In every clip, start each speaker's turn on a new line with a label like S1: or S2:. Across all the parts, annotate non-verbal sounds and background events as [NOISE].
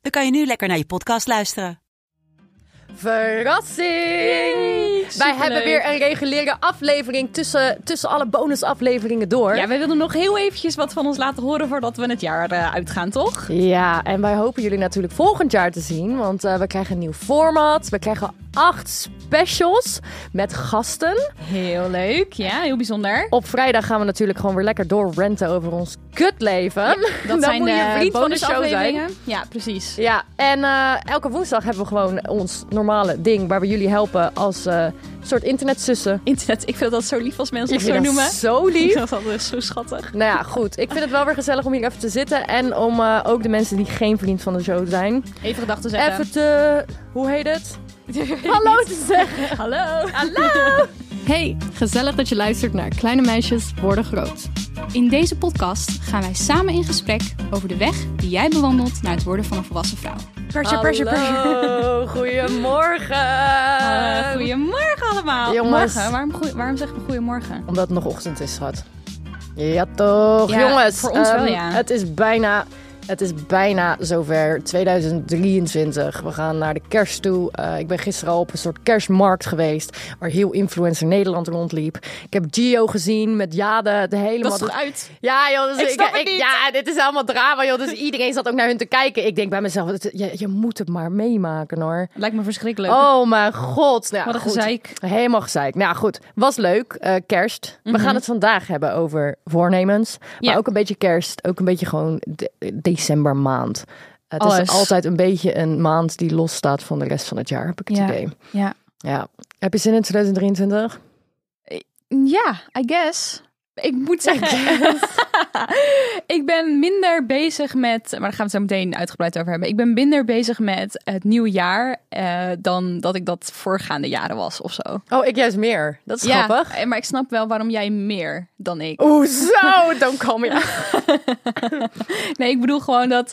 S1: dan kan je nu lekker naar je podcast luisteren.
S2: Verrassing! Wij hebben weer een reguliere aflevering tussen, tussen alle bonusafleveringen door.
S3: Ja, we wilden nog heel eventjes wat van ons laten horen voordat we het jaar eh, uitgaan, toch?
S2: Ja, en wij hopen jullie natuurlijk volgend jaar te zien. Want eh, we krijgen een nieuw format. We krijgen acht specials met gasten.
S3: Heel leuk, ja, heel bijzonder. [LAUGHS]
S2: Op vrijdag gaan we natuurlijk gewoon weer lekker doorrenten over ons kutleven. Dan
S3: Dat zijn
S2: moet je
S3: de
S2: vriend van de show zijn.
S3: bonusafleveringen. Ja, precies.
S2: Ja, en eh, elke woensdag hebben we gewoon ons normale ding waar we jullie helpen als eh, soort internetzussen.
S3: [LAUGHS] Internet, ik vind dat zo lief als mensen
S2: Ik
S3: dat zo
S2: vind dat
S3: noemen.
S2: zo
S3: Ik
S2: lief.
S3: vind [LAUGHS] dat altijd zo schattig.
S2: Nou ja, goed. Ik vind het wel weer gezellig om hier even te zitten. En om eh, ook de mensen die geen vriend van de show zijn.
S3: Even gedachten zetten.
S2: Even te. Hoe heet
S3: [LAUGHS]
S2: het? Hallo te zeggen.
S3: Hallo. [LAUGHS]
S4: Hey, gezellig dat je luistert naar Kleine Meisjes Worden Groot. In deze podcast gaan wij samen in gesprek over de weg die jij bewandelt naar het worden van een volwassen vrouw.
S3: Pressure, pressure, pressure.
S2: Hallo, goedemorgen.
S3: Eh, goedemorgen allemaal.
S2: Jongens.
S3: Morgen. Waarom, goe- waarom zeggen we goedemorgen?
S2: Omdat het nog ochtend is, schat. Ja, toch.
S3: Ja,
S2: Jongens,
S3: voor ons
S2: ehm,
S3: wel, ja.
S2: Het is bijna. Het is bijna zover, 2023. We gaan naar de kerst toe. Eh, ik ben gisteren al op een soort kerstmarkt geweest... waar heel influencer Nederland rondliep. Ik heb Gio gezien met Jade, de hele
S3: Dat is toch uit?
S2: Ja, joh, dus
S3: Ik snap het niet.
S2: ja, dit is allemaal drama, joh. Dus iedereen zat ook naar hun te kijken. Ik denk bij mezelf, het- je, je moet het maar meemaken, hoor.
S3: Lijkt me verschrikkelijk.
S2: Oh mijn god. Nou, ja,
S3: Wat een
S2: goed.
S3: gezeik.
S2: Helemaal gezeik. Nou goed, was leuk. eh, kerst. We gaan het vandaag hebben over voornemens. Maar
S3: Mhm. Ja.
S2: ook een beetje kerst. Ook een beetje gewoon de, decembermaand. Het
S3: Alles.
S2: is altijd een beetje een maand die losstaat van de rest van het jaar, heb ik het
S3: Ja.
S2: idee.
S3: Ja.
S2: Ja. Heb je zin in 2023?
S3: Ja, I guess. Ik
S2: [LAUGHS]
S3: moet zeggen, [LAUGHS] ik ben minder bezig met, maar daar gaan we het zo meteen uitgebreid over hebben. Ik ben minder bezig met het nieuwe jaar eh, dan dat ik dat voorgaande jaren was of zo.
S2: Oh, ik juist meer. Dat is grappig.
S3: eh, maar ik snap wel waarom jij meer dan ik.
S2: Hoezo? Dan kom je Oh.
S3: [LAUGHS] Nee, ik bedoel gewoon dat,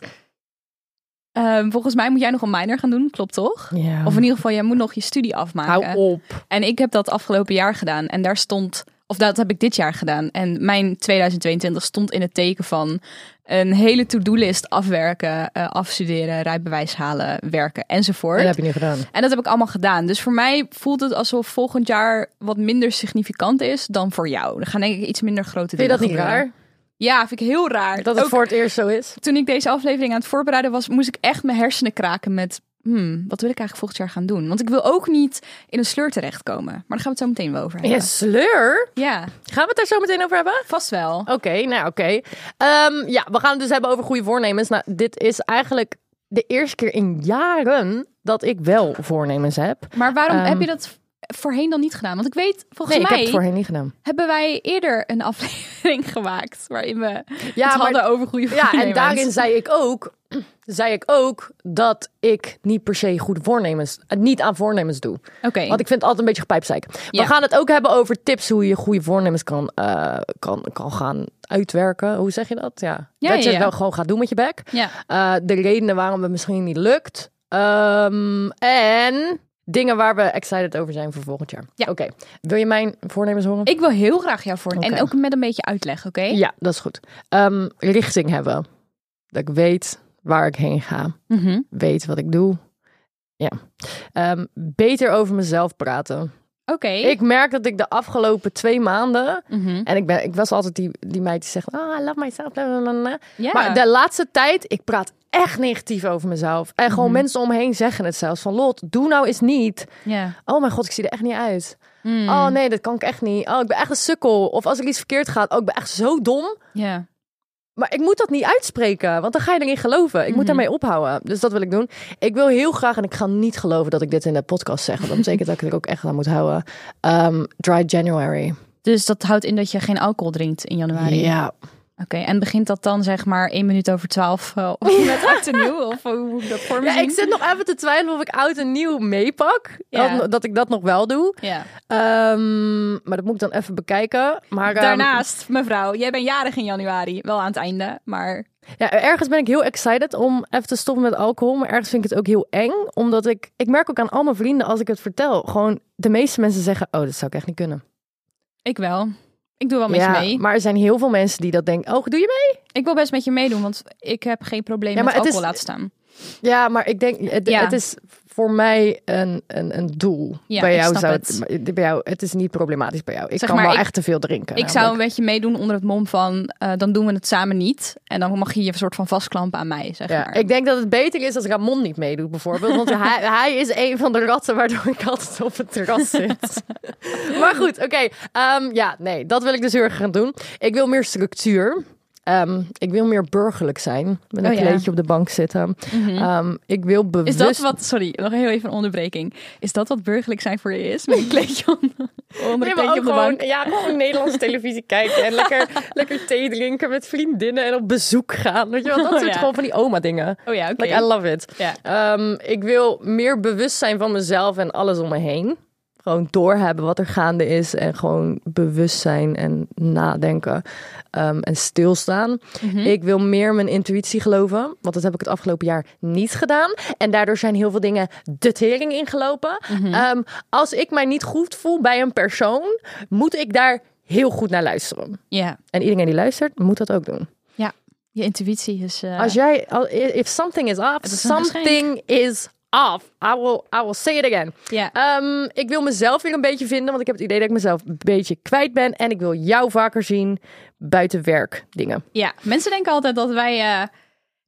S3: ehm, volgens mij moet jij nog een minor gaan doen, klopt toch?
S2: Ja.
S3: Of in ieder geval, jij moet nog je studie afmaken.
S2: Hou op.
S3: En ik heb dat afgelopen jaar gedaan. En daar stond, of dat heb ik dit jaar gedaan. En mijn 2022 stond in het teken van een hele to-do-list afwerken, eh, afstuderen, rijbewijs halen, werken enzovoort.
S2: Dat heb je niet gedaan.
S3: En dat heb ik allemaal gedaan. Dus voor mij voelt het alsof volgend jaar wat minder significant is dan voor jou. Er gaan denk ik iets minder grote
S2: Vind je
S3: dingen
S2: dat niet
S3: gebeuren.
S2: raar?
S3: Ja, vind ik heel raar.
S2: Dat het
S3: Ook
S2: voor het eerst zo is?
S3: toen ik deze aflevering aan het voorbereiden was, moest ik echt mijn hersenen kraken met. Hmm, wat wil ik eigenlijk volgend jaar gaan doen? Want ik wil ook niet in een sleur terechtkomen. Maar daar gaan we het zo meteen wel over hebben.
S2: Ja, sleur.
S3: Ja,
S2: Gaan we het daar zo meteen over hebben?
S3: vast wel.
S2: Oké, nou oké. Ehm, ja, we gaan het dus hebben over goede voornemens. Nou, dit is eigenlijk de eerste keer in jaren dat ik wel voornemens heb.
S3: Maar waarom
S2: Ehm.
S3: heb je dat voorheen dan niet gedaan? Want ik weet, volgens
S2: nee, ik
S3: mij
S2: heb het voorheen niet gedaan.
S3: hebben wij eerder een [LAUGHS] aflevering gemaakt waarin we
S2: Ja,
S3: het
S2: maar-
S3: hadden over goede
S2: Ja, en
S3: voornemens.
S2: daarin zei ik ook, [CLEARS THROAT] zei ik ook dat ik niet per se goede voornemens, eh, niet aan voornemens doe.
S3: Oké,
S2: Want ik vind het altijd een beetje gepijpzeik.
S3: Ja.
S2: We gaan het ook hebben over tips hoe je goede voornemens kan, eh, kan, kan gaan uitwerken. Hoe zeg je dat? Ja.
S3: Ja,
S2: dat
S3: ja,
S2: je het
S3: ja.
S2: wel gewoon gaat doen met je bek.
S3: Ja.
S2: Eh, de redenen waarom het misschien niet lukt. Ehm, en dingen waar we excited over zijn voor volgend jaar.
S3: Ja.
S2: Oké. Wil je mijn voornemens horen?
S3: ik wil heel graag jou voor
S2: Oké.
S3: en ook met een beetje uitleg, oké?
S2: Ja, dat is goed. Ehm, richting hebben. Dat ik weet waar ik heen ga.
S3: Mhm.
S2: Weet wat ik doe. Ja. Ehm, beter over mezelf praten.
S3: Oké.
S2: Ik merk dat ik de afgelopen twee maanden.
S3: Mhm.
S2: En ik, ben, ik was altijd die, die meid die zegt: Ah, I love myself. bla, bla, bla, bla.
S3: Ja.
S2: Maar de laatste tijd, ik praat echt negatief over mezelf. En gewoon mensen omheen zeggen het zelfs: van Lot, doe nou eens niet.
S3: Ja.
S2: Oh mijn god, ik zie er echt niet uit.
S3: Mm.
S2: Oh nee, dat kan ik echt niet. Oh, ik ben echt een sukkel. Of als er iets verkeerd gaat, oh, ik ben echt zo dom.
S3: Ja.
S2: Maar ik moet dat niet uitspreken, want dan ga je erin geloven. Ik moet daarmee ophouden. Dus dat wil ik doen. Ik wil heel graag, en ik ga niet geloven dat ik dit in de podcast zeg. Want dat betekent [LAUGHS] dat ik er ook echt aan moet houden. Ehm, dry January.
S3: Dus dat houdt in dat je geen alcohol drinkt in januari.
S2: Ja,
S3: en begint dat dan zeg maar één minuut over twaalf eh,
S2: [LAUGHS]
S3: met oud en nieuw? Of eh, hoe moet ik dat voor me
S2: Ja,
S3: zien?
S2: ik zit nog even te twijfelen of ik oud en nieuw meepak.
S3: Ja.
S2: Dat, dat ik dat nog wel doe.
S3: Ja.
S2: Ehm, maar dat moet ik dan even bekijken. Maar, ehm,
S3: Daarnaast, mevrouw, jij bent jarig in januari. Wel aan het einde, maar...
S2: Ja, ergens ben ik heel excited om even te stoppen met alcohol. Maar ergens vind ik het ook heel eng. Omdat ik... Ik merk ook aan al mijn vrienden als ik het vertel. Gewoon de meeste mensen zeggen... Oh, dat zou ik echt niet kunnen.
S3: Ik wel. Ik doe wel met je mee.
S2: maar er zijn heel veel mensen die dat denken. Oh, doe je mee?
S3: Ik wil best met je meedoen, want ik heb geen probleem
S2: Ja,
S3: met
S2: maar het is-
S3: alcohol laten staan.
S2: Ja, maar ik denk... Het,
S3: Ja.
S2: het is voor mij een, een, een doel.
S3: Ja,
S2: bij
S3: ik
S2: jou
S3: snap
S2: zou
S3: het.
S2: het... Bij jou, het is niet problematisch bij jou. Ik
S3: Zeg
S2: kan
S3: maar,
S2: wel
S3: ik-
S2: echt te veel drinken.
S3: Ik zou een beetje meedoen onder het mom van, eh, dan doen we het samen niet. En dan mag je je soort van vastklampen aan mij, zeg
S2: Ja,
S3: maar.
S2: ik denk dat het beter is als Ramon niet meedoet, bijvoorbeeld. Want [LAUGHS] hij, hij is een van de ratten waardoor ik altijd op het terras [LAUGHS] zit. maar goed, oké. Ehm, ja, nee, dat wil ik dus heel erg gaan doen. Ik wil meer structuur. Ehm, ik wil meer burgerlijk zijn. Met een
S3: Oh ja.
S2: kleedje op de bank zitten. Ehm, ik wil bewust...
S3: Is dat wat, sorry, nog heel even een onderbreking. Is dat wat burgerlijk zijn voor je is? Met een kleedje om, onder
S2: Nee,
S3: een
S2: maar
S3: kleedje
S2: ook
S3: op de
S2: gewoon,
S3: bank?
S2: ja, gewoon Nederlandse televisie kijken en lekker, [LAUGHS] lekker thee drinken met vriendinnen en op bezoek gaan. Weet je wel, dat
S3: Oh
S2: soort
S3: ja.
S2: gewoon van die oma dingen.
S3: Oh ja, oké.
S2: Like, I love it.
S3: Ja.
S2: Ehm, ik wil meer bewust zijn van mezelf en alles om me heen. Gewoon doorhebben wat er gaande is en gewoon bewust zijn en nadenken ehm, en stilstaan. Ik wil meer mijn intuïtie geloven, want dat heb ik het afgelopen jaar niet gedaan. En daardoor zijn heel veel dingen de tering ingelopen. Ehm, als ik mij niet goed voel bij een persoon, moet ik daar heel goed naar luisteren.
S3: Ja,
S2: En iedereen die luistert, moet dat ook doen.
S3: ja. Je intuïtie is... eh,
S2: Als jij, al- if something is off,
S3: is een
S2: something is off. I will, I will say it again.
S3: Ja.
S2: Ehm, ik wil mezelf weer een beetje vinden, want ik heb het idee dat ik mezelf een beetje kwijt ben. En ik wil jou vaker zien buiten werk dingen.
S3: Ja, mensen denken altijd dat wij. eh,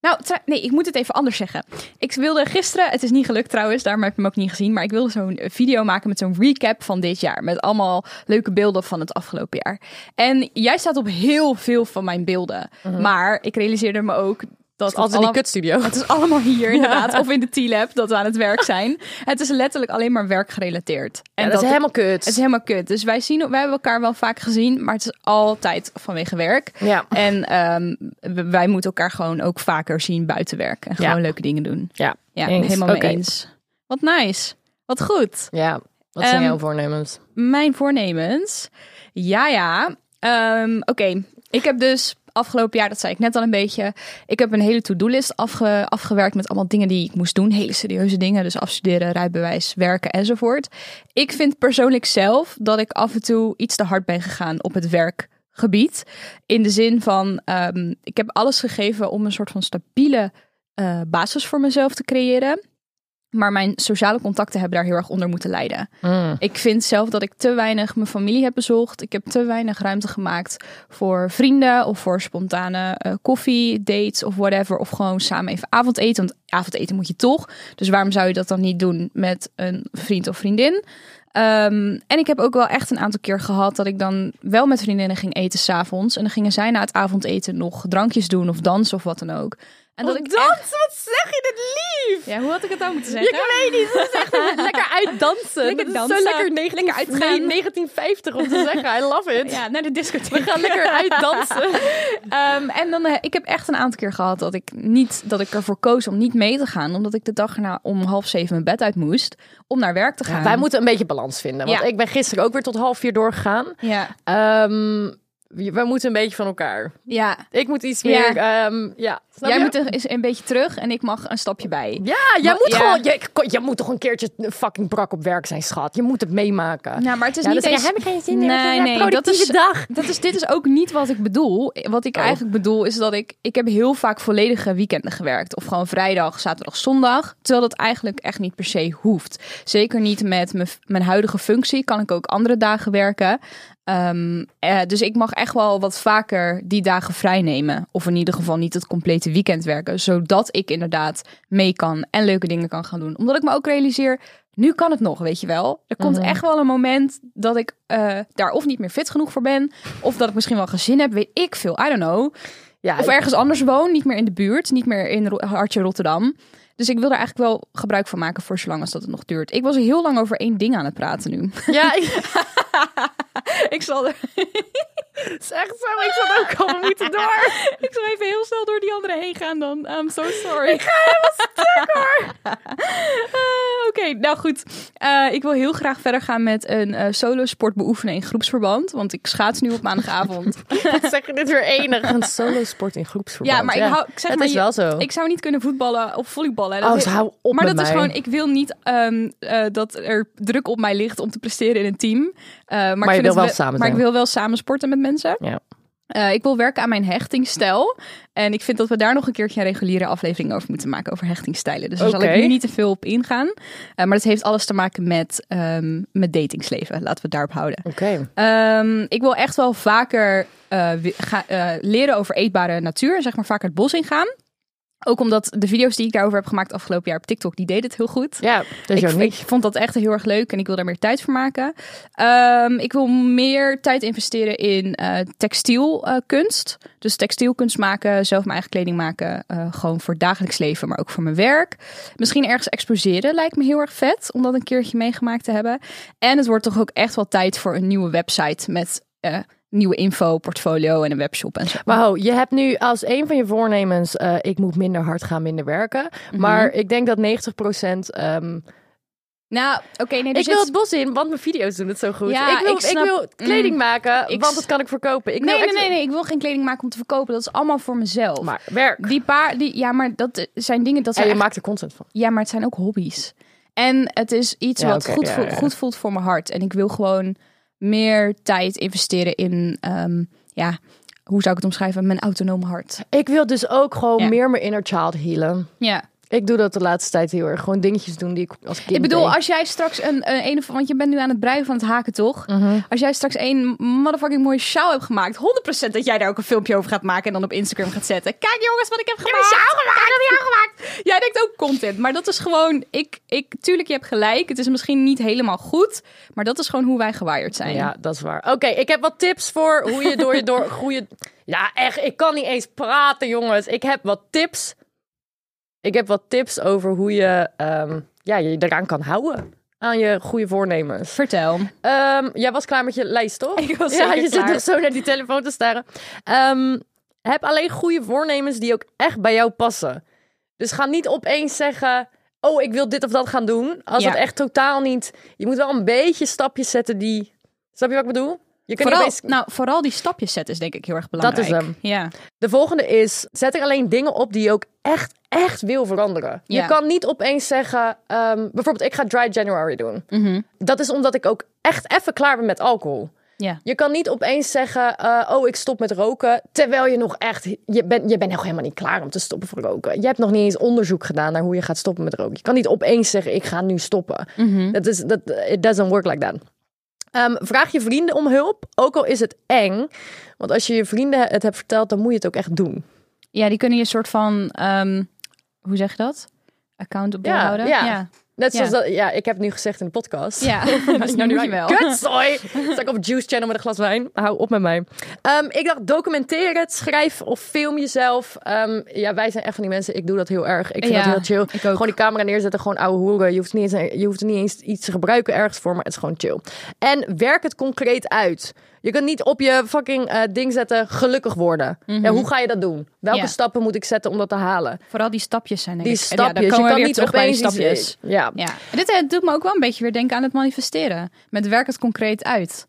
S3: Nou, tra- nee, ik moet het even anders zeggen. Ik wilde gisteren, het is niet gelukt trouwens, daarom heb ik hem ook niet gezien. Maar ik wilde zo'n video maken met zo'n recap van dit jaar. Met allemaal leuke beelden van het afgelopen jaar. En jij staat op heel veel van mijn beelden. Maar ik realiseerde me ook dat.
S2: Mhm. Dus Als in die
S3: alle-
S2: kutstudio.
S3: het is allemaal
S2: [LAUGHS]
S3: hier inderdaad. Of in de T-Lab dat we aan het werk zijn. Het is letterlijk alleen maar werkgerelateerd. En
S2: En dat, is
S3: ik-
S2: helemaal kut.
S3: het is helemaal kut. Dus wij, zien, wij hebben elkaar wel vaak gezien, maar het is altijd vanwege werk.
S2: Ja.
S3: En ehm, w- wij moeten elkaar gewoon ook vaker zien buiten werk. En gewoon
S2: Ja.
S3: leuke dingen doen.
S2: ja,
S3: Ja,
S2: Eens.
S3: helemaal mee
S2: Oké.
S3: eens. Wat nice. Wat goed.
S2: Ja, wat zijn
S3: Ehm,
S2: jouw voornemens?
S3: Mijn voornemens. Ja, ja. Ehm, Oké, ik heb dus afgelopen jaar, dat zei ik net al een beetje, ik heb een hele to-do-list afge- afgewerkt met allemaal dingen die ik moest doen. Hele serieuze dingen, dus afstuderen, rijbewijs, werken enzovoort. Ik vind persoonlijk zelf dat ik af en toe iets te hard ben gegaan op het werkgebied. In de zin van, ehm, ik heb alles gegeven om een soort van stabiele eh, basis voor mezelf te creëren. Maar mijn sociale contacten hebben daar heel erg onder moeten lijden. Ik vind zelf dat ik te weinig mijn familie heb bezocht. Ik heb te weinig ruimte gemaakt voor vrienden of voor spontane eh, koffie, dates of whatever. Of gewoon samen even avondeten. Want avondeten moet je toch. Dus waarom zou je dat dan niet doen met een vriend of vriendin? Ehm, en ik heb ook wel echt een aantal keer gehad dat ik dan wel met vriendinnen ging eten s'avonds. En dan gingen zij na het avondeten nog drankjes doen of dansen of wat dan ook. En
S2: Oh,
S3: dat ik echt-
S2: Wat zeg je dit lief?
S3: Ja, hoe had ik het dan moeten zeggen?
S2: Je weet niet, dat is echt [LAUGHS] lekker uitdansen.
S3: Lekker
S2: dat is
S3: dansen.
S2: zo lekker, negen-
S3: Lekker uitgaan.
S2: nee, 1950 om te zeggen. I love it.
S3: Ja, naar de discotheek.
S2: We gaan lekker uitdansen.
S3: [LAUGHS] Ehm, en dan, eh, ik heb echt een aantal keer gehad dat ik, niet, dat ik ervoor koos om niet mee te gaan. Omdat ik de dag erna om half zeven mijn bed uit moest. Om naar werk te gaan.
S2: Wij moeten een beetje balans vinden. Want
S3: Ja.
S2: ik ben gisteren ook weer tot half vier doorgegaan.
S3: Ja,
S2: Ehm, we wij moeten een beetje van elkaar.
S3: ja.
S2: Ik moet iets
S3: Ja.
S2: meer. Ja, ja. Snap
S3: jij
S2: je?
S3: moet er eens een beetje terug en ik mag een stapje bij.
S2: Ja, jij
S3: Maar-
S2: moet
S3: ja.
S2: gewoon. Jij, jij moet toch een keertje fucking brak op werk zijn, schat. Je moet het meemaken.
S3: Nou, maar het is
S2: Ja,
S3: niet
S2: dan
S3: eens...
S2: zeg je, "Heb ik geen zin in, want het is
S3: Nee,
S2: een
S3: nee, dat is,
S2: productieve dag."
S3: dat is... Dit is ook niet wat ik bedoel. Wat ik
S2: Oh.
S3: eigenlijk bedoel is dat ik... Ik heb heel vaak volledige weekenden gewerkt. Of gewoon vrijdag, zaterdag, zondag. Terwijl dat eigenlijk echt niet per se hoeft. Zeker niet met mijn- mijn huidige functie. Kan ik ook andere dagen werken. Ehm, eh, dus ik mag echt wel wat vaker die dagen vrijnemen. Of in ieder geval niet het complete weekend werken. Zodat ik inderdaad mee kan en leuke dingen kan gaan doen. Omdat ik me ook realiseer, nu kan het nog, weet je wel. Er komt echt wel een moment dat ik eh, daar of niet meer fit genoeg voor ben. Of dat ik misschien wel gezin heb, weet ik veel. I don't know.
S2: ja,
S3: Of ergens anders woon, niet meer in de buurt. Niet meer in Ro- hartje Rotterdam. Dus ik wil er eigenlijk wel gebruik van maken voor zolang als dat het nog duurt. Ik was heel
S2: [LAUGHS]
S3: [LAUGHS] lang over één ding aan het praten nu.
S2: ja, ik-
S3: ik zal er...
S2: Het is echt zo. Ik zat ook al, we
S3: [LAUGHS]
S2: moeten door.
S3: Ik zal even heel snel door die andere heen gaan dan. I'm so sorry. Ik ga [LAUGHS] helemaal stuk hoor. Oké, nou goed. Eh, ik wil heel graag verder gaan met een eh solo sport beoefenen in groepsverband. Want ik schaats nu op
S2: [LAUGHS]
S3: maandagavond.
S2: Wat zeg je dit weer enig? Een solo sport in groepsverband.
S3: ja, maar ik hou, ik zeg
S2: Het
S3: maar,
S2: is
S3: je-
S2: wel zo.
S3: Ik zou niet kunnen voetballen of volleyballen.
S2: Oh,
S3: Dat-
S2: ze hou op
S3: maar
S2: met
S3: dat is
S2: mij.
S3: gewoon, ik wil niet ehm, eh, dat er druk op mij ligt om te presteren in een team. Eh, maar ik
S2: je
S3: vind
S2: wil
S3: het
S2: wel samen
S3: Maar ik
S2: zijn.
S3: wil wel samen sporten met mensen.
S2: Ja.
S3: Eh, ik wil werken aan mijn hechtingstijl. En ik vind dat we daar nog een keertje een reguliere aflevering over moeten maken. Over hechtingstijlen. Dus daar zal
S2: Oké.
S3: ik nu niet te veel op ingaan. Eh, maar dat heeft alles te maken met, ehm met datingsleven. Laten we het daarop houden.
S2: Oké.
S3: Ehm, ik wil echt wel vaker eh, wi- ga- eh, leren over eetbare natuur. Zeg maar vaker het bos ingaan. Ook omdat de video's die ik daarover heb gemaakt afgelopen jaar op TikTok, die deden het heel goed.
S2: Ja, dat is
S3: ik,
S2: jouw
S3: ik
S2: niche.
S3: vond dat echt heel erg leuk en ik wil daar meer tijd voor maken. Ehm, ik wil meer tijd investeren in eh, textielkunst. dus textielkunst maken, zelf mijn eigen kleding maken. eh, gewoon voor het dagelijks leven, maar ook voor mijn werk. Misschien ergens exposeren lijkt me heel erg vet om dat een keertje meegemaakt te hebben. En het wordt toch ook echt wel tijd voor een nieuwe website met eh, nieuwe info, portfolio en een webshop en zo.
S2: Maar ho, je hebt nu als een van je voornemens, eh, ik moet minder hard gaan, minder werken. Maar ik denk dat 90 ehm,
S3: Nou, oké, nee,
S2: ik wil het bos in, want mijn video's doen het zo goed.
S3: Ja,
S2: ik, wil,
S3: ik snap-
S2: wil kleding
S3: Mm.
S2: maken,
S3: Ik
S2: want
S3: s-
S2: dat kan ik verkopen. Ik
S3: Nee,
S2: wil
S3: nee,
S2: echt-
S3: nee, nee, ik wil geen kleding maken om te verkopen. Dat is allemaal voor mezelf.
S2: Maar werk.
S3: Die paar, die, ja, maar dat eh, zijn dingen. Dat
S2: En
S3: zijn
S2: je
S3: echt-
S2: maakt er content van.
S3: Ja, maar het zijn ook hobby's. En het is iets
S2: Ja,
S3: wat
S2: oké,
S3: goed,
S2: ja,
S3: voelt,
S2: ja, ja.
S3: goed voelt voor mijn hart. En ik wil gewoon meer tijd investeren in, ehm, ja, hoe zou ik het omschrijven? Mijn autonome hart.
S2: Ik wil dus ook gewoon
S3: Ja.
S2: meer mijn inner child healen.
S3: Ja.
S2: Ik doe dat de laatste tijd heel erg. Gewoon dingetjes doen die ik als kind
S3: Ik bedoel,
S2: deed.
S3: als jij straks een, eh, een, een of want je bent nu aan het breien van het haken, toch?
S2: Mhm.
S3: Als jij straks een motherfucking mooie sjaal hebt gemaakt, 100% dat jij daar ook een filmpje over gaat maken en dan op Instagram gaat zetten. Kijk jongens, wat ik heb gemaakt. Ik heb een gemaakt. Kijk, wat ik heb gemaakt. Jij denkt ook content, maar dat is gewoon, ik, ik, tuurlijk, je hebt gelijk. Het is misschien niet helemaal goed, maar dat is gewoon hoe wij gewaaid zijn.
S2: Ja, dat is waar. Oké, ik heb wat tips voor hoe je door je door goede. Ja, echt, ik kan niet eens praten, jongens. Ik heb wat tips. Ik heb wat tips over hoe je ehm, ja, je eraan kan houden aan je goede voornemens.
S3: Vertel.
S2: Ehm, jij was klaar met je lijst, toch?
S3: Ik was
S2: ja,
S3: zeker
S2: je zit
S3: klaar.
S2: nog zo naar die telefoon te staren. Ehm, heb alleen goede voornemens die ook echt bij jou passen. Dus ga niet opeens zeggen: Oh, ik wil dit of dat gaan doen. Als
S3: Ja.
S2: dat echt totaal niet. Je moet wel een beetje stapjes zetten die. Snap je wat ik bedoel? Je kunt
S3: Vooral,
S2: niet opeens-
S3: nou, vooral die stapjes zetten is denk ik heel erg belangrijk.
S2: is hem.
S3: Ja.
S2: De volgende is: zet er alleen dingen op die je ook echt, echt wil veranderen.
S3: Ja.
S2: Je kan niet opeens zeggen: ehm, Bijvoorbeeld, ik ga Dry January doen.
S3: Mhm.
S2: Dat is omdat ik ook echt even klaar ben met alcohol.
S3: Ja.
S2: Je kan niet opeens zeggen, eh, oh, ik stop met roken. Terwijl je nog echt, je bent je bent nog helemaal niet klaar om te stoppen voor roken. Je hebt nog niet eens onderzoek gedaan naar hoe je gaat stoppen met roken. Je kan niet opeens zeggen, ik ga nu stoppen.
S3: Mhm.
S2: Dat is, dat, it doesn't work like that. Ehm, vraag je vrienden om hulp, ook al is het eng. Want als je je vrienden het hebt verteld, dan moet je het ook echt doen.
S3: ja, die kunnen je een soort van, ehm, hoe zeg je dat? Accountable
S2: Ja,
S3: houden.
S2: ja. Net
S3: Ja.
S2: zoals dat, ja, ik heb nu gezegd in de podcast. [LAUGHS]
S3: [LAUGHS] Ja,
S2: nou
S3: dus nu moet je wel.
S2: Kutzooi!
S3: [LAUGHS]
S2: Sta ik op Juice Channel met een glas wijn. Hou op met mij. Ehm, ik dacht, documenteer het. Schrijf of film jezelf. Ehm, ja, wij zijn echt van die mensen. Ik doe dat heel erg. Ik vind
S3: Ja,
S2: dat heel chill.
S3: ik ook.
S2: Gewoon die camera neerzetten. Gewoon ouwe hoeren. Je hoeft, niet eens, je hoeft niet eens iets te gebruiken ergens voor. Maar het is gewoon chill. En werk het concreet uit. Je kunt niet op je fucking eh, ding zetten gelukkig worden. ja, hoe ga je dat doen? Welke
S3: Mhm. Ja.
S2: stappen moet ik zetten om dat te halen?
S3: Vooral die stapjes zijn denk
S2: Die
S3: ik. En
S2: stapjes.
S3: Ja, dan komen
S2: je
S3: we
S2: kan
S3: weer
S2: niet
S3: terug bij die
S2: opeens
S3: stapjes.
S2: iets- Ja.
S3: Ja. Dit eh, doet me ook wel een beetje weer denken aan het manifesteren. Met werk het concreet uit.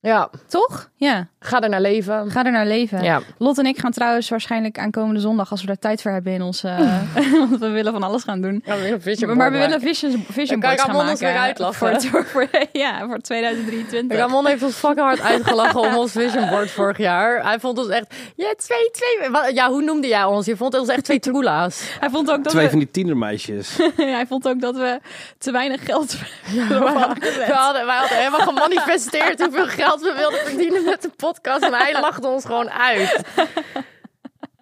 S2: ja,
S3: Toch? Ja.
S2: ga er naar leven.
S3: Ga er naar leven.
S2: Ja.
S3: Lot en ik gaan trouwens waarschijnlijk aankomende zondag, als we daar tijd voor hebben in
S2: [LAUGHS]
S3: onze... [LAUGHS] eh, want we willen van alles gaan doen.
S2: Ja, we willen vision
S3: Maar,
S2: board
S3: we
S2: maken.
S3: willen vision,
S2: Dan kan
S3: vision boards gaan
S2: Ramon ons
S3: maken.
S2: weer uitlachen.
S3: Voor, voor, [LAUGHS] voor- ja, voor 2023.
S2: Ramon heeft ons fucking hard uitgelachen om ons vision board vorig jaar. Hij vond ons echt, ja, twee, twee. wa- Ja, hoe noemde jij ons? Je vond ons echt twee
S3: [LAUGHS]
S2: troela's.
S3: Hij vond ook dat
S5: Twee
S3: we...
S5: van die tienermeisjes.
S3: [LAUGHS]
S5: [LAUGHS]
S3: Hij vond ook dat we te weinig
S2: [LAUGHS]
S3: geld erover hadden
S2: We
S3: gezet.
S2: hadden, wij hadden helemaal gemanifesteerd hoeveel geld we wilden verdienen met de podcast. En hij lachte ons gewoon uit.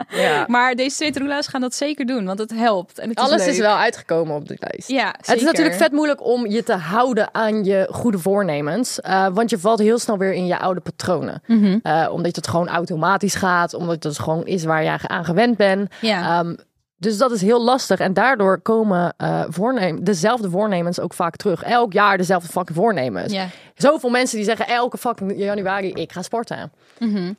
S2: Ja.
S3: Maar deze twee roula's gaan dat zeker doen, want het helpt. En het
S2: Alles
S3: is,
S2: is
S3: leuk.
S2: wel uitgekomen op de lijst.
S3: Ja,
S2: Het is
S3: zeker.
S2: natuurlijk vet moeilijk om je te houden aan je goede voornemens. eh, want je valt heel snel weer in je oude patronen.
S3: Mhm.
S2: dus Eh, omdat het gewoon automatisch gaat. Omdat het gewoon is waar je aan gewend bent.
S3: Ja.
S2: Ehm, Dus dat is heel lastig. En daardoor komen eh, voornem- dezelfde voornemens ook vaak terug. Elk jaar dezelfde fucking voornemens.
S3: Ja.
S2: Zoveel mensen die zeggen elke fucking januari, ik ga sporten.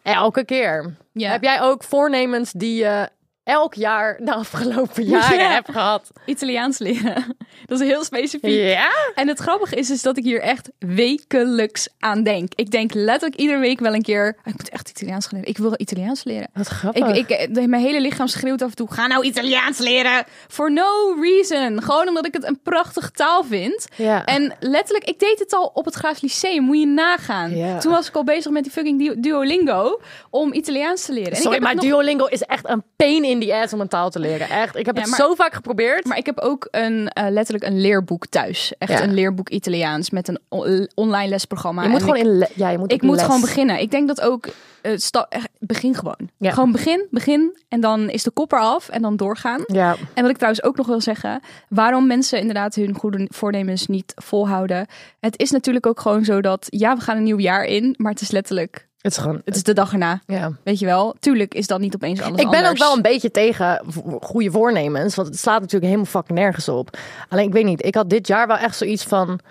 S2: Elke keer.
S3: Mhm. Ja.
S2: Heb jij ook voornemens die je elk jaar de
S3: [LAUGHS]
S2: afgelopen jaren
S3: Ja.
S2: hebt gehad?
S3: Italiaans leren. [LAUGHS] Dat is heel specifiek.
S2: Ja?
S3: En het grappige is, is dat ik hier echt wekelijks aan denk. Ik denk letterlijk iedere week wel een keer... "Ah, Ik moet echt Italiaans gaan leren. Ik wil Italiaans leren.
S2: Wat
S3: Ik,
S2: grappig.
S3: ik, eh, mijn hele lichaam schreeuwt af en toe: ga nou Italiaans leren. For no reason. Gewoon omdat ik het een prachtige taal vind.
S2: Ja.
S3: En letterlijk, ik deed het al op het Graafs Lyceum. Moet je nagaan.
S2: Ja.
S3: Toen was ik al bezig met die fucking du- Duolingo om Italiaans te leren. En ik
S2: Sorry,
S3: heb
S2: maar
S3: het nog-
S2: Duolingo is echt een pain in the ass om een taal te leren. Echt, ik heb
S3: Ja,
S2: het
S3: maar-
S2: zo vaak geprobeerd.
S3: Maar ik heb ook een, eh, letterlijk een leerboek thuis. Echt
S2: Ja.
S3: een leerboek Italiaans met een on- online lesprogramma.
S2: je moet
S3: En
S2: gewoon
S3: ik,
S2: in le- ja, je moet
S3: ik
S2: op
S3: moet
S2: les.
S3: gewoon beginnen. Ik denk dat ook... eh, sta- echt, begin gewoon.
S2: Ja.
S3: Gewoon begin, begin. En dan is de kopper af en dan doorgaan.
S2: Ja,
S3: En wat ik trouwens ook nog wil zeggen, waarom mensen inderdaad hun goede voornemens niet volhouden. Het is natuurlijk ook gewoon zo dat, ja, we gaan een nieuw jaar in, maar het is letterlijk,
S2: het is gewoon.
S3: het is de dag erna.
S2: ja.
S3: Weet je wel, tuurlijk is dan niet opeens alles
S2: Ik ben
S3: anders.
S2: ook wel een beetje tegen vo- goede voornemens, want het slaat natuurlijk helemaal fucking nergens op. Alleen ik weet niet, ik had dit jaar wel echt zoiets van: oké,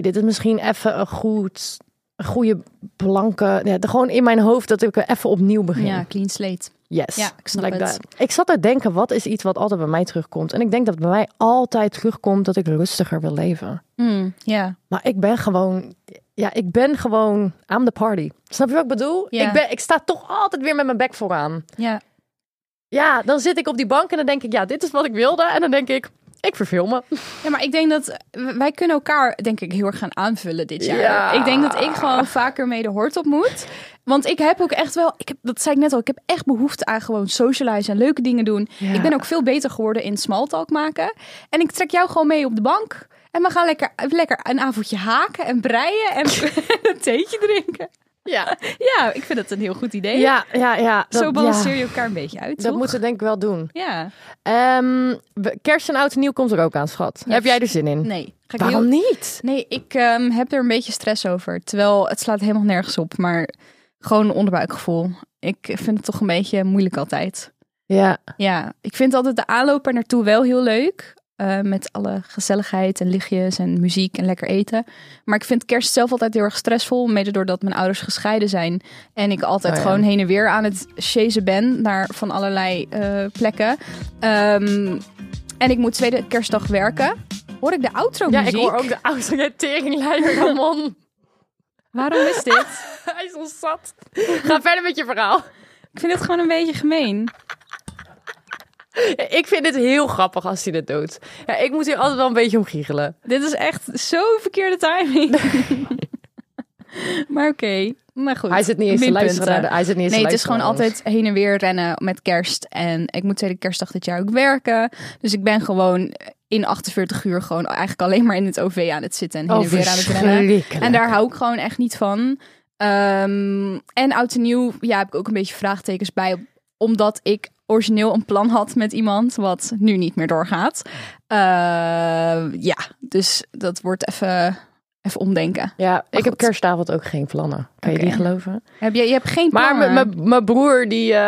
S2: dit is misschien even een goed, een goede blanke, ja, de- gewoon in mijn hoofd dat ik er even opnieuw begin.
S3: Ja, clean slate.
S2: Yes.
S3: Ja, ik snap het.
S2: that. Ik zat te denken, wat is iets wat altijd bij mij terugkomt? En ik denk dat bij mij altijd terugkomt dat ik rustiger wil leven.
S3: Mm, ja,
S2: Maar ik ben gewoon, ja, ik ben gewoon aan de party. Snap je wat ik bedoel?
S3: Ja.
S2: Ik, ben, ik sta toch altijd weer met mijn bek vooraan.
S3: ja.
S2: Ja, dan zit ik op die bank en dan denk ik, ja, dit is wat ik wilde. En dan denk ik, ik verveel me.
S3: Ja, maar ik denk dat w- wij kunnen elkaar, denk ik, heel erg gaan aanvullen dit jaar.
S2: Ja.
S3: Ik denk dat ik gewoon vaker mee de hort op moet. Want ik heb ook echt wel, ik heb, dat zei ik net al, ik heb echt behoefte aan gewoon socializen en leuke dingen doen.
S2: Ja.
S3: Ik ben ook veel beter geworden in smalltalk maken. En ik trek jou gewoon mee op de bank. En we gaan lekker, lekker een avondje haken en breien en [LAUGHS] een theetje drinken.
S2: Ja,
S3: Ja, ik vind dat een heel goed idee.
S2: [LAUGHS] ja, ja. ja dat,
S3: Zo balanceer
S2: ja,
S3: je elkaar een beetje uit,
S2: Dat
S3: toch?
S2: moeten we denk ik wel doen.
S3: Ja.
S2: Ehm, we- kerst en oud en nieuw komt er ook aan, schat. Heb jij er zin in?
S3: Nee. Ga ik heel-
S2: Waarom niet?
S3: Nee, ik ehm, heb er een beetje stress over. Terwijl het slaat helemaal nergens op, maar gewoon een onderbuikgevoel. Ik vind het toch een beetje moeilijk altijd.
S2: Ja,
S3: Ja, ik vind altijd de aanloop er naartoe wel heel leuk. eh, met alle gezelligheid en lichtjes en muziek en lekker eten. Maar ik vind kerst zelf altijd heel erg stressvol. Mede doordat mijn ouders gescheiden zijn. En ik altijd
S2: Oh ja.
S3: gewoon heen en weer aan het chasen ben. Naar van allerlei eh, plekken. Ehm, en ik moet tweede kerstdag werken. Hoor ik de outro
S2: ja
S3: muziek?
S2: ik hoor ook de oude teringleider, [LAUGHS] Ramon.
S3: Waarom is dit?
S2: Hij is ons zat. Ga verder met je verhaal.
S3: Ik vind het gewoon een beetje gemeen.
S2: Ik vind het heel grappig als hij dit doet. Ja, ik moet hier altijd wel een beetje om giechelen.
S3: Dit is echt zo verkeerde timing. [LAUGHS] maar oké, maar goed.
S2: Hij zit niet eens te
S3: Minpunten.
S2: luisteren naar de... Hij zit niet eens
S3: Nee,
S2: te
S3: het is
S2: luisteren
S3: gewoon
S2: naar ons.
S3: altijd heen en weer rennen met kerst. En ik moet tweede kerstdag dit jaar ook werken. Dus ik ben gewoon in 48 uur gewoon eigenlijk alleen maar in het OV aan het zitten. En heen en
S2: Oh,
S3: weer aan het rennen.
S2: verschrikkelijk.
S3: En daar hou ik gewoon echt niet van. Ehm, en oud en nieuw, ja, heb ik ook een beetje vraagtekens bij. Omdat ik origineel een plan had met iemand wat nu niet meer doorgaat. Eh, ja, dus dat wordt even, even omdenken.
S2: Ja, ik heb
S3: goed.
S2: kerstavond ook geen plannen. Kan je
S3: Oké.
S2: die geloven?
S3: Heb je, je hebt geen
S2: Maar
S3: plannen.
S2: mijn- mijn broer, die. eh,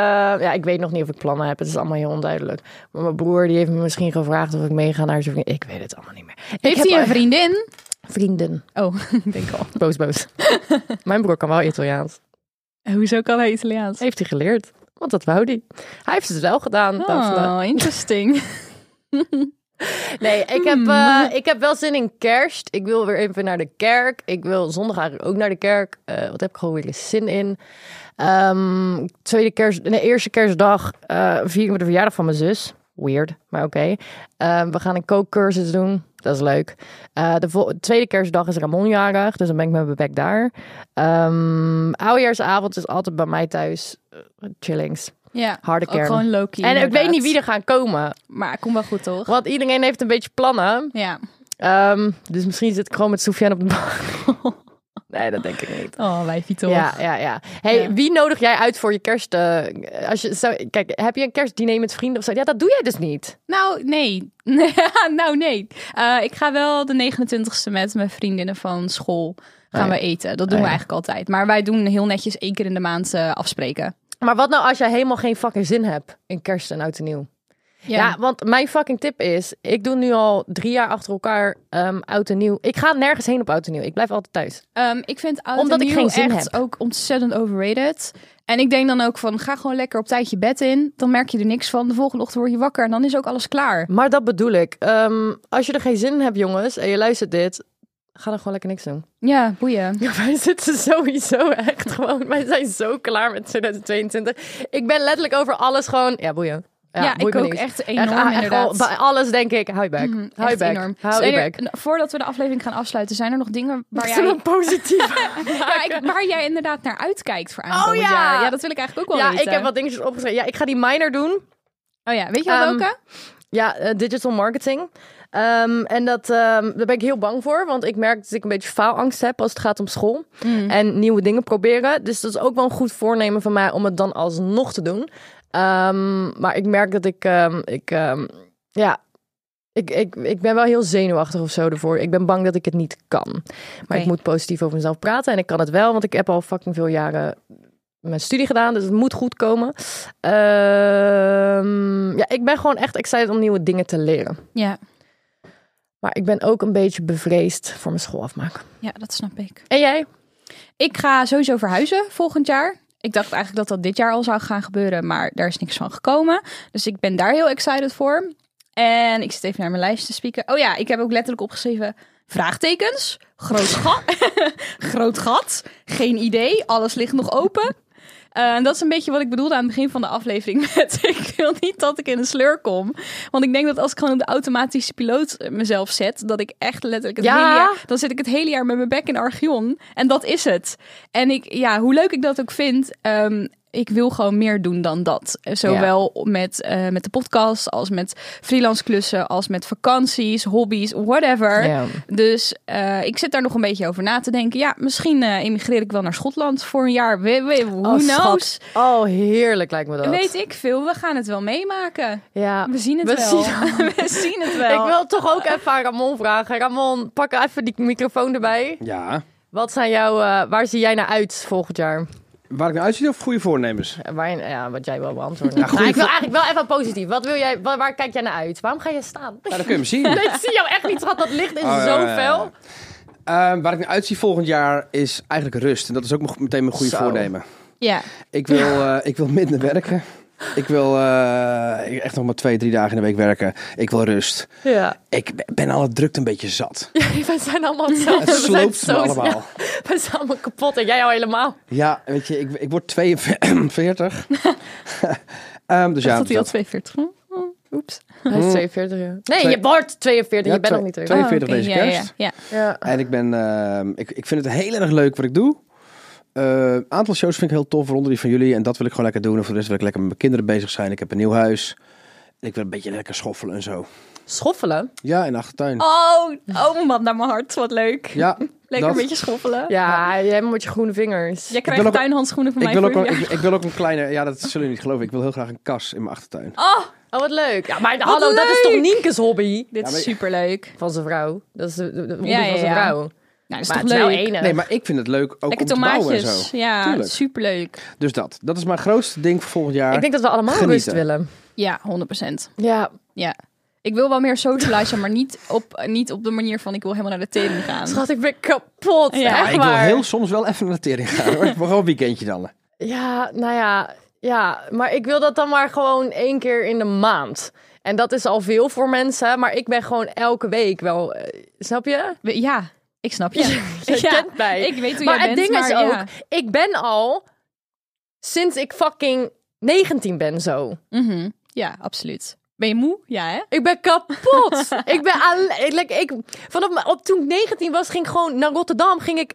S2: ja, ik weet nog niet of ik plannen heb. Het is allemaal heel onduidelijk. Maar mijn broer, die heeft me misschien gevraagd of ik meega naar zijn vriendin. Ik weet het allemaal niet meer. ik
S3: Heeft
S2: heb
S3: hij een
S2: al-
S3: vriendin?
S2: vrienden?
S3: Oh, ik denk al.
S2: Boos, boos. mijn broer kan wel Italiaans.
S3: [LAUGHS] Hoezo kan hij Italiaans?
S2: Heeft hij geleerd? Want dat wou hij. Hij heeft het wel gedaan. Daphne.
S3: Oh, interesting.
S2: Nee, ik heb, eh, ik heb wel zin in kerst. Ik wil weer even naar de kerk. Ik wil zondag eigenlijk ook naar de kerk. Eh, wat heb ik gewoon weer eens zin in? Ehm, tweede kerst, nee, eerste kerstdag eh vieren we de verjaardag van mijn zus. Weird, maar oké. Eh, we gaan een kookcursus doen. Dat is leuk. Eh, de vol- tweede kerstdag is Ramon jarig, dus dan ben ik met mijn bek daar. Ehm oudejaarsavond is altijd bij mij thuis. eh, chillings.
S3: [LAUGHS] Ja,
S2: Harde
S3: ook
S2: kern.
S3: gewoon Loki.
S2: En ik weet niet wie er gaan komen.
S3: Maar kom wel goed, toch?
S2: Want iedereen heeft een beetje plannen.
S3: Ja.
S2: Ehm, dus misschien zit ik gewoon met Sofian op de bank. [LAUGHS] nee, dat denk ik niet.
S3: Oh, wijfie toch.
S2: Ja, ja, ja. Hey,
S3: Ja.
S2: wie nodig jij uit voor je kerst? eh, als je, zou, kijk, heb je een kerstdiner met vrienden of zo? Ja, dat doe jij dus niet.
S3: Nou, nee. [LAUGHS] nou, nee. Eh, ik ga wel de 29e met mijn vriendinnen van school gaan
S2: Oh
S3: we eten. Dat doen we eigenlijk altijd. Maar wij doen heel netjes één keer in de maand eh, afspreken.
S2: Maar wat nou als jij helemaal geen fucking zin hebt in kerst en oud en nieuw? Ja. want mijn fucking tip is, ik doe nu al drie jaar achter elkaar ehm oud en nieuw. Ik ga nergens heen op oud en nieuw. Ik blijf altijd thuis.
S3: Ehm, ik vind oud
S2: Omdat ik
S3: en nieuw
S2: geen zin
S3: echt
S2: heb.
S3: ook ontzettend overrated. En ik denk dan ook van, ga gewoon lekker op tijd je bed in. Dan merk je er niks van. De volgende ochtend word je wakker en dan is ook alles klaar.
S2: Maar dat bedoel ik. Ehm, als je er geen zin in hebt, jongens, en je luistert dit, ga dan gewoon lekker niks doen.
S3: Ja, boeien.
S2: Ja, wij zitten sowieso echt gewoon. Wij zijn zo klaar met 2022. Ik ben letterlijk over alles gewoon. Ja, boeien.
S3: Ja,
S2: boeit me
S3: ik ook
S2: niet.
S3: echt
S2: Echt,
S3: enorm
S2: ah, echt
S3: inderdaad.
S2: al- bij alles denk ik, hou je bek.
S3: Mm,
S2: hou je
S3: echt
S2: bek.
S3: enorm.
S2: Hou je
S3: Zijn er-
S2: bek.
S3: n- voordat we de aflevering gaan afsluiten, zijn er nog
S2: [LAUGHS]
S3: dingen waar
S2: Zullen we
S3: jij,
S2: een positief
S3: [LAUGHS] ja, ik- waar jij inderdaad naar uitkijkt voor aankomend
S2: Oh ja.
S3: jaar? Ja, dat wil ik eigenlijk ook wel
S2: Ja,
S3: weten.
S2: ik heb wat dingetjes opgeschreven. Ja, ik ga die minor doen.
S3: Oh ja, weet je wel
S2: Ehm,
S3: welke?
S2: Ja, eh, digital marketing. Ehm, en dat, ehm, daar ben ik heel bang voor, want ik merk dat ik een beetje faalangst heb als het gaat om school en nieuwe dingen proberen. Dus dat is ook wel een goed voornemen van mij om het dan alsnog te doen. Ehm, maar ik merk dat ik, ehm, ik ehm, ja, ik, ik, ik ben wel heel zenuwachtig of zo ervoor. Ik ben bang dat ik het niet kan. Maar
S3: Oké.
S2: ik moet positief over mezelf praten en ik kan het wel, want ik heb al fucking veel jaren mijn studie gedaan, dus het moet goed komen. Ehm, ja, ik ben gewoon echt excited om nieuwe dingen te leren.
S3: Ja.
S2: Maar ik ben ook een beetje bevreesd voor mijn school afmaken.
S3: ja, dat snap ik.
S2: En jij?
S3: Ik ga sowieso verhuizen volgend jaar. Ik dacht eigenlijk dat dat dit jaar al zou gaan gebeuren, maar daar is niks van gekomen. Dus ik ben daar heel excited voor. En ik zit even naar mijn lijst te spieken. Oh ja, ik heb ook letterlijk opgeschreven vraagtekens. Groot gat. [LAUGHS] Groot gat. Geen idee. Alles ligt nog open. Eh, en dat is een beetje wat ik bedoelde aan het begin van de aflevering. [LAUGHS] Met ik wil niet dat ik in een sleur kom. Want ik denk dat als ik gewoon op de automatische piloot eh, mezelf zet, dat ik echt letterlijk het
S2: Ja?
S3: hele jaar. Dan zit ik het hele jaar met mijn bek in Argion. En dat is het. En ik, ja, hoe leuk ik dat ook vind. ehm, ik wil gewoon meer doen dan dat. Eh, Zowel met, eh, met de podcast, als met freelance klussen, als met vakanties, hobby's, whatever.
S2: Ja.
S3: Dus eh, ik zit daar nog een beetje over na te denken. Ja, misschien eh, emigreer ik wel naar Schotland voor een jaar. We, we, who
S2: Oh,
S3: knows?
S2: schat. Oh, heerlijk lijkt me dat.
S3: Weet ik veel. We gaan het wel meemaken.
S2: Ja.
S3: We zien het
S2: We
S3: wel. [LAUGHS]
S2: zien-
S3: we zien het wel.
S2: Ik wil toch ook even aan Ramon vragen. Ramon, pak even die microfoon erbij.
S5: Ja.
S2: Wat zijn jouw, eh, waar zie jij naar uit volgend jaar?
S5: Waar ik naar uitzie of goede voornemens?
S2: Eh, Waar, ja, wat jij wil beantwoorden.
S5: Ja, goeie
S2: Maar ik wil
S5: vra-
S2: eigenlijk wel even positief. Wat wil jij, waar, waar kijk jij naar uit? Waarom ga je staan?
S5: Nou, dat kun je me zien.
S2: [LAUGHS] Nee, ik zie jou echt niet, schat. Dat licht is
S5: Oh, ja,
S2: zo
S5: ja, ja.
S2: fel.
S5: Ehm, waar ik naar uitzie volgend jaar is eigenlijk rust. En dat is ook nog meteen mijn goede
S2: Zo.
S5: voornemen.
S3: Ja.
S5: Ik wil, eh, ik wil minder werken. Ik wil eh, echt nog maar twee, drie dagen in de week werken. Ik wil rust.
S2: Ja.
S5: Ik be- ben alle drukte een beetje zat.
S2: [LAUGHS] Wij zijn allemaal hetzelfde.
S5: Het
S2: We zijn
S5: sloopt me
S2: zo
S5: allemaal.
S2: snel- We zijn allemaal kapot en jij al helemaal.
S5: Ja, weet je, ik, ik word [LAUGHS] 42. Ehm, dus ja,
S3: dat
S5: dus
S3: hij al
S5: dat-
S3: 42 Oh, Oeps.
S2: Hij is 42 jaar. Nee,
S5: Mm. Twee-
S2: je wordt 42.
S5: Ja,
S2: je bent
S5: twee-
S2: nog niet 42.
S5: 42
S3: Oh, oké.
S5: deze
S3: Ja, ja,
S5: kerst.
S3: Ja,
S2: Ja.
S5: En ik ben, ehm, ik, ik vind het heel erg leuk wat ik doe. Eh, Een aantal shows vind ik heel tof, waaronder die van jullie. En dat wil ik gewoon lekker doen. En voor de rest wil ik lekker met mijn kinderen bezig zijn. Ik heb een nieuw huis. En ik wil een beetje lekker schoffelen en zo.
S2: Schoffelen?
S5: Ja, in de achtertuin.
S3: Oh, oh man, naar mijn hart. Wat leuk.
S5: Ja,
S3: Lekker
S5: dat.
S3: een beetje schoffelen.
S2: Ja, jij moet je groene vingers.
S3: Jij
S5: wil
S3: krijgt
S5: ook-
S3: tuinhandschoenen van
S5: Ik
S3: mij
S5: wil, ook
S3: voor
S5: wel-
S3: je.
S5: ik, ik wil ook een kleine... Ja, dat zullen jullie niet geloven. Ik wil heel graag een kas in mijn achtertuin.
S3: Oh,
S2: Oh, wat leuk. Ja, maar hallo, dat is
S3: leuk!
S2: toch Nienke's hobby?
S3: dit
S5: Ja,
S3: is
S5: maar-
S3: superleuk.
S2: Van zijn vrouw. Dat is de, de- de hobby
S3: Ja, ja,
S2: van zijn
S3: ja.
S2: vrouw.
S3: Nou, dat is
S2: maar
S3: toch
S2: het is wel
S3: leuk.
S2: enig.
S5: Nee, maar ik vind het leuk ook
S3: Lekker
S5: om te bouwen en
S3: tomaatjes.
S5: zo.
S3: Ja,
S5: Tuurlijk.
S3: superleuk.
S5: Dus dat. Dat is mijn grootste ding voor volgend jaar.
S2: Ik denk dat we allemaal
S5: Genieten.
S2: rust willen.
S3: Ja, 100%.
S2: Ja.
S3: Ja. Ik wil wel meer socializen, maar niet op, niet op de manier van ik wil helemaal naar de [GASPS] tering gaan.
S2: Schat, ik ben kapot.
S3: Ja.
S5: Ja,
S2: echt
S5: ik wil
S2: waar.
S5: heel soms wel even naar de tering gaan. hoor. Gewoon een weekendje dan.
S2: Ja, nou ja. Ja, maar ik wil dat dan maar gewoon één keer in de maand. En dat is al veel voor mensen, maar ik ben gewoon elke week wel... eh, snap je?
S3: We- [LAUGHS] Ja, ik snap je.
S2: Je
S3: Ja,
S2: kent mij.
S3: Ik weet hoe
S2: maar
S3: jij
S2: het
S3: bent,
S2: ding
S3: maar
S2: is ook,
S3: ja.
S2: ik ben al sinds ik fucking 19 ben zo.
S3: Mhm. ja, absoluut. Ben je moe? Ja, hè?
S2: Ik ben kapot. ik ben alleen. Like, ik, vanaf mijn- op, toen ik 19 was, ging ik gewoon naar Rotterdam. Ging ik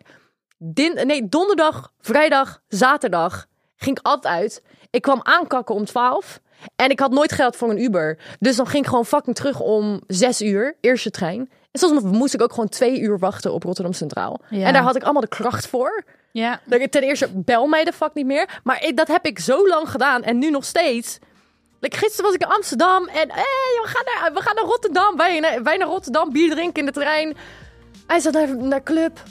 S2: din, nee, donderdag, vrijdag, zaterdag. Ging ik altijd uit. Ik kwam aankakken om 12. En ik had nooit geld voor een Uber. Dus dan ging ik gewoon fucking terug om 6 uur, eerste trein. En soms moest ik ook gewoon twee uur wachten op Rotterdam Centraal.
S3: Ja.
S2: En daar had ik allemaal de kracht voor.
S3: Ja.
S2: Dat ik ten eerste bel mij de fuck niet meer. Maar ik- dat heb ik zo lang gedaan en nu nog steeds. Like, gisteren was ik in Amsterdam en hey, we, gaan naar, we gaan naar Rotterdam. Wij naar, wij naar Rotterdam, bier drinken in de trein. Hij zat naar, naar club.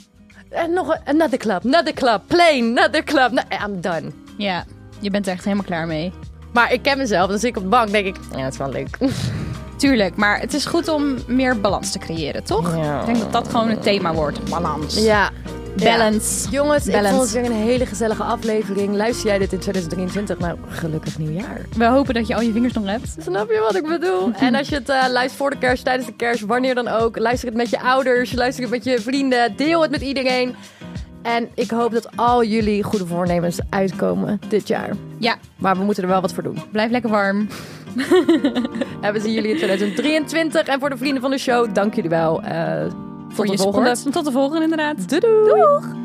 S2: En nog een another club, another club, plane, another club. Nou, I'm done.
S3: Ja, je bent er echt helemaal klaar mee.
S2: Maar ik ken mezelf. Dan zit ik op de bank denk ik, ja, het is wel leuk. [LAUGHS]
S3: Tuurlijk, maar het is goed om meer balans te creëren, toch?
S2: Ja.
S3: Ik denk dat dat gewoon het thema wordt. Balans.
S2: Ja.
S3: Balance.
S2: Jongens, ik
S3: Balance.
S2: vond het weer een hele gezellige aflevering. Luister jij dit in 2023? Nou, gelukkig nieuwjaar.
S3: We hopen dat je al je vingers nog hebt.
S2: Snap je wat ik
S3: [LAUGHS]
S2: bedoel? En als je het eh, luistert voor de kerst, tijdens de kerst, wanneer dan ook. Luister het met je ouders, luister het met je vrienden. Deel het met iedereen. En ik hoop dat al jullie goede voornemens uitkomen dit jaar.
S3: Ja,
S2: Maar we moeten er wel wat voor doen.
S3: blijf lekker warm.
S2: En we zien jullie
S3: [LAUGHS]
S2: in 2023. En voor de vrienden van de show, dank jullie wel. Eh, tot
S3: voor
S2: de
S3: je
S2: volgende.
S3: sport. Tot de volgende inderdaad.
S2: Doei doei. Doeg.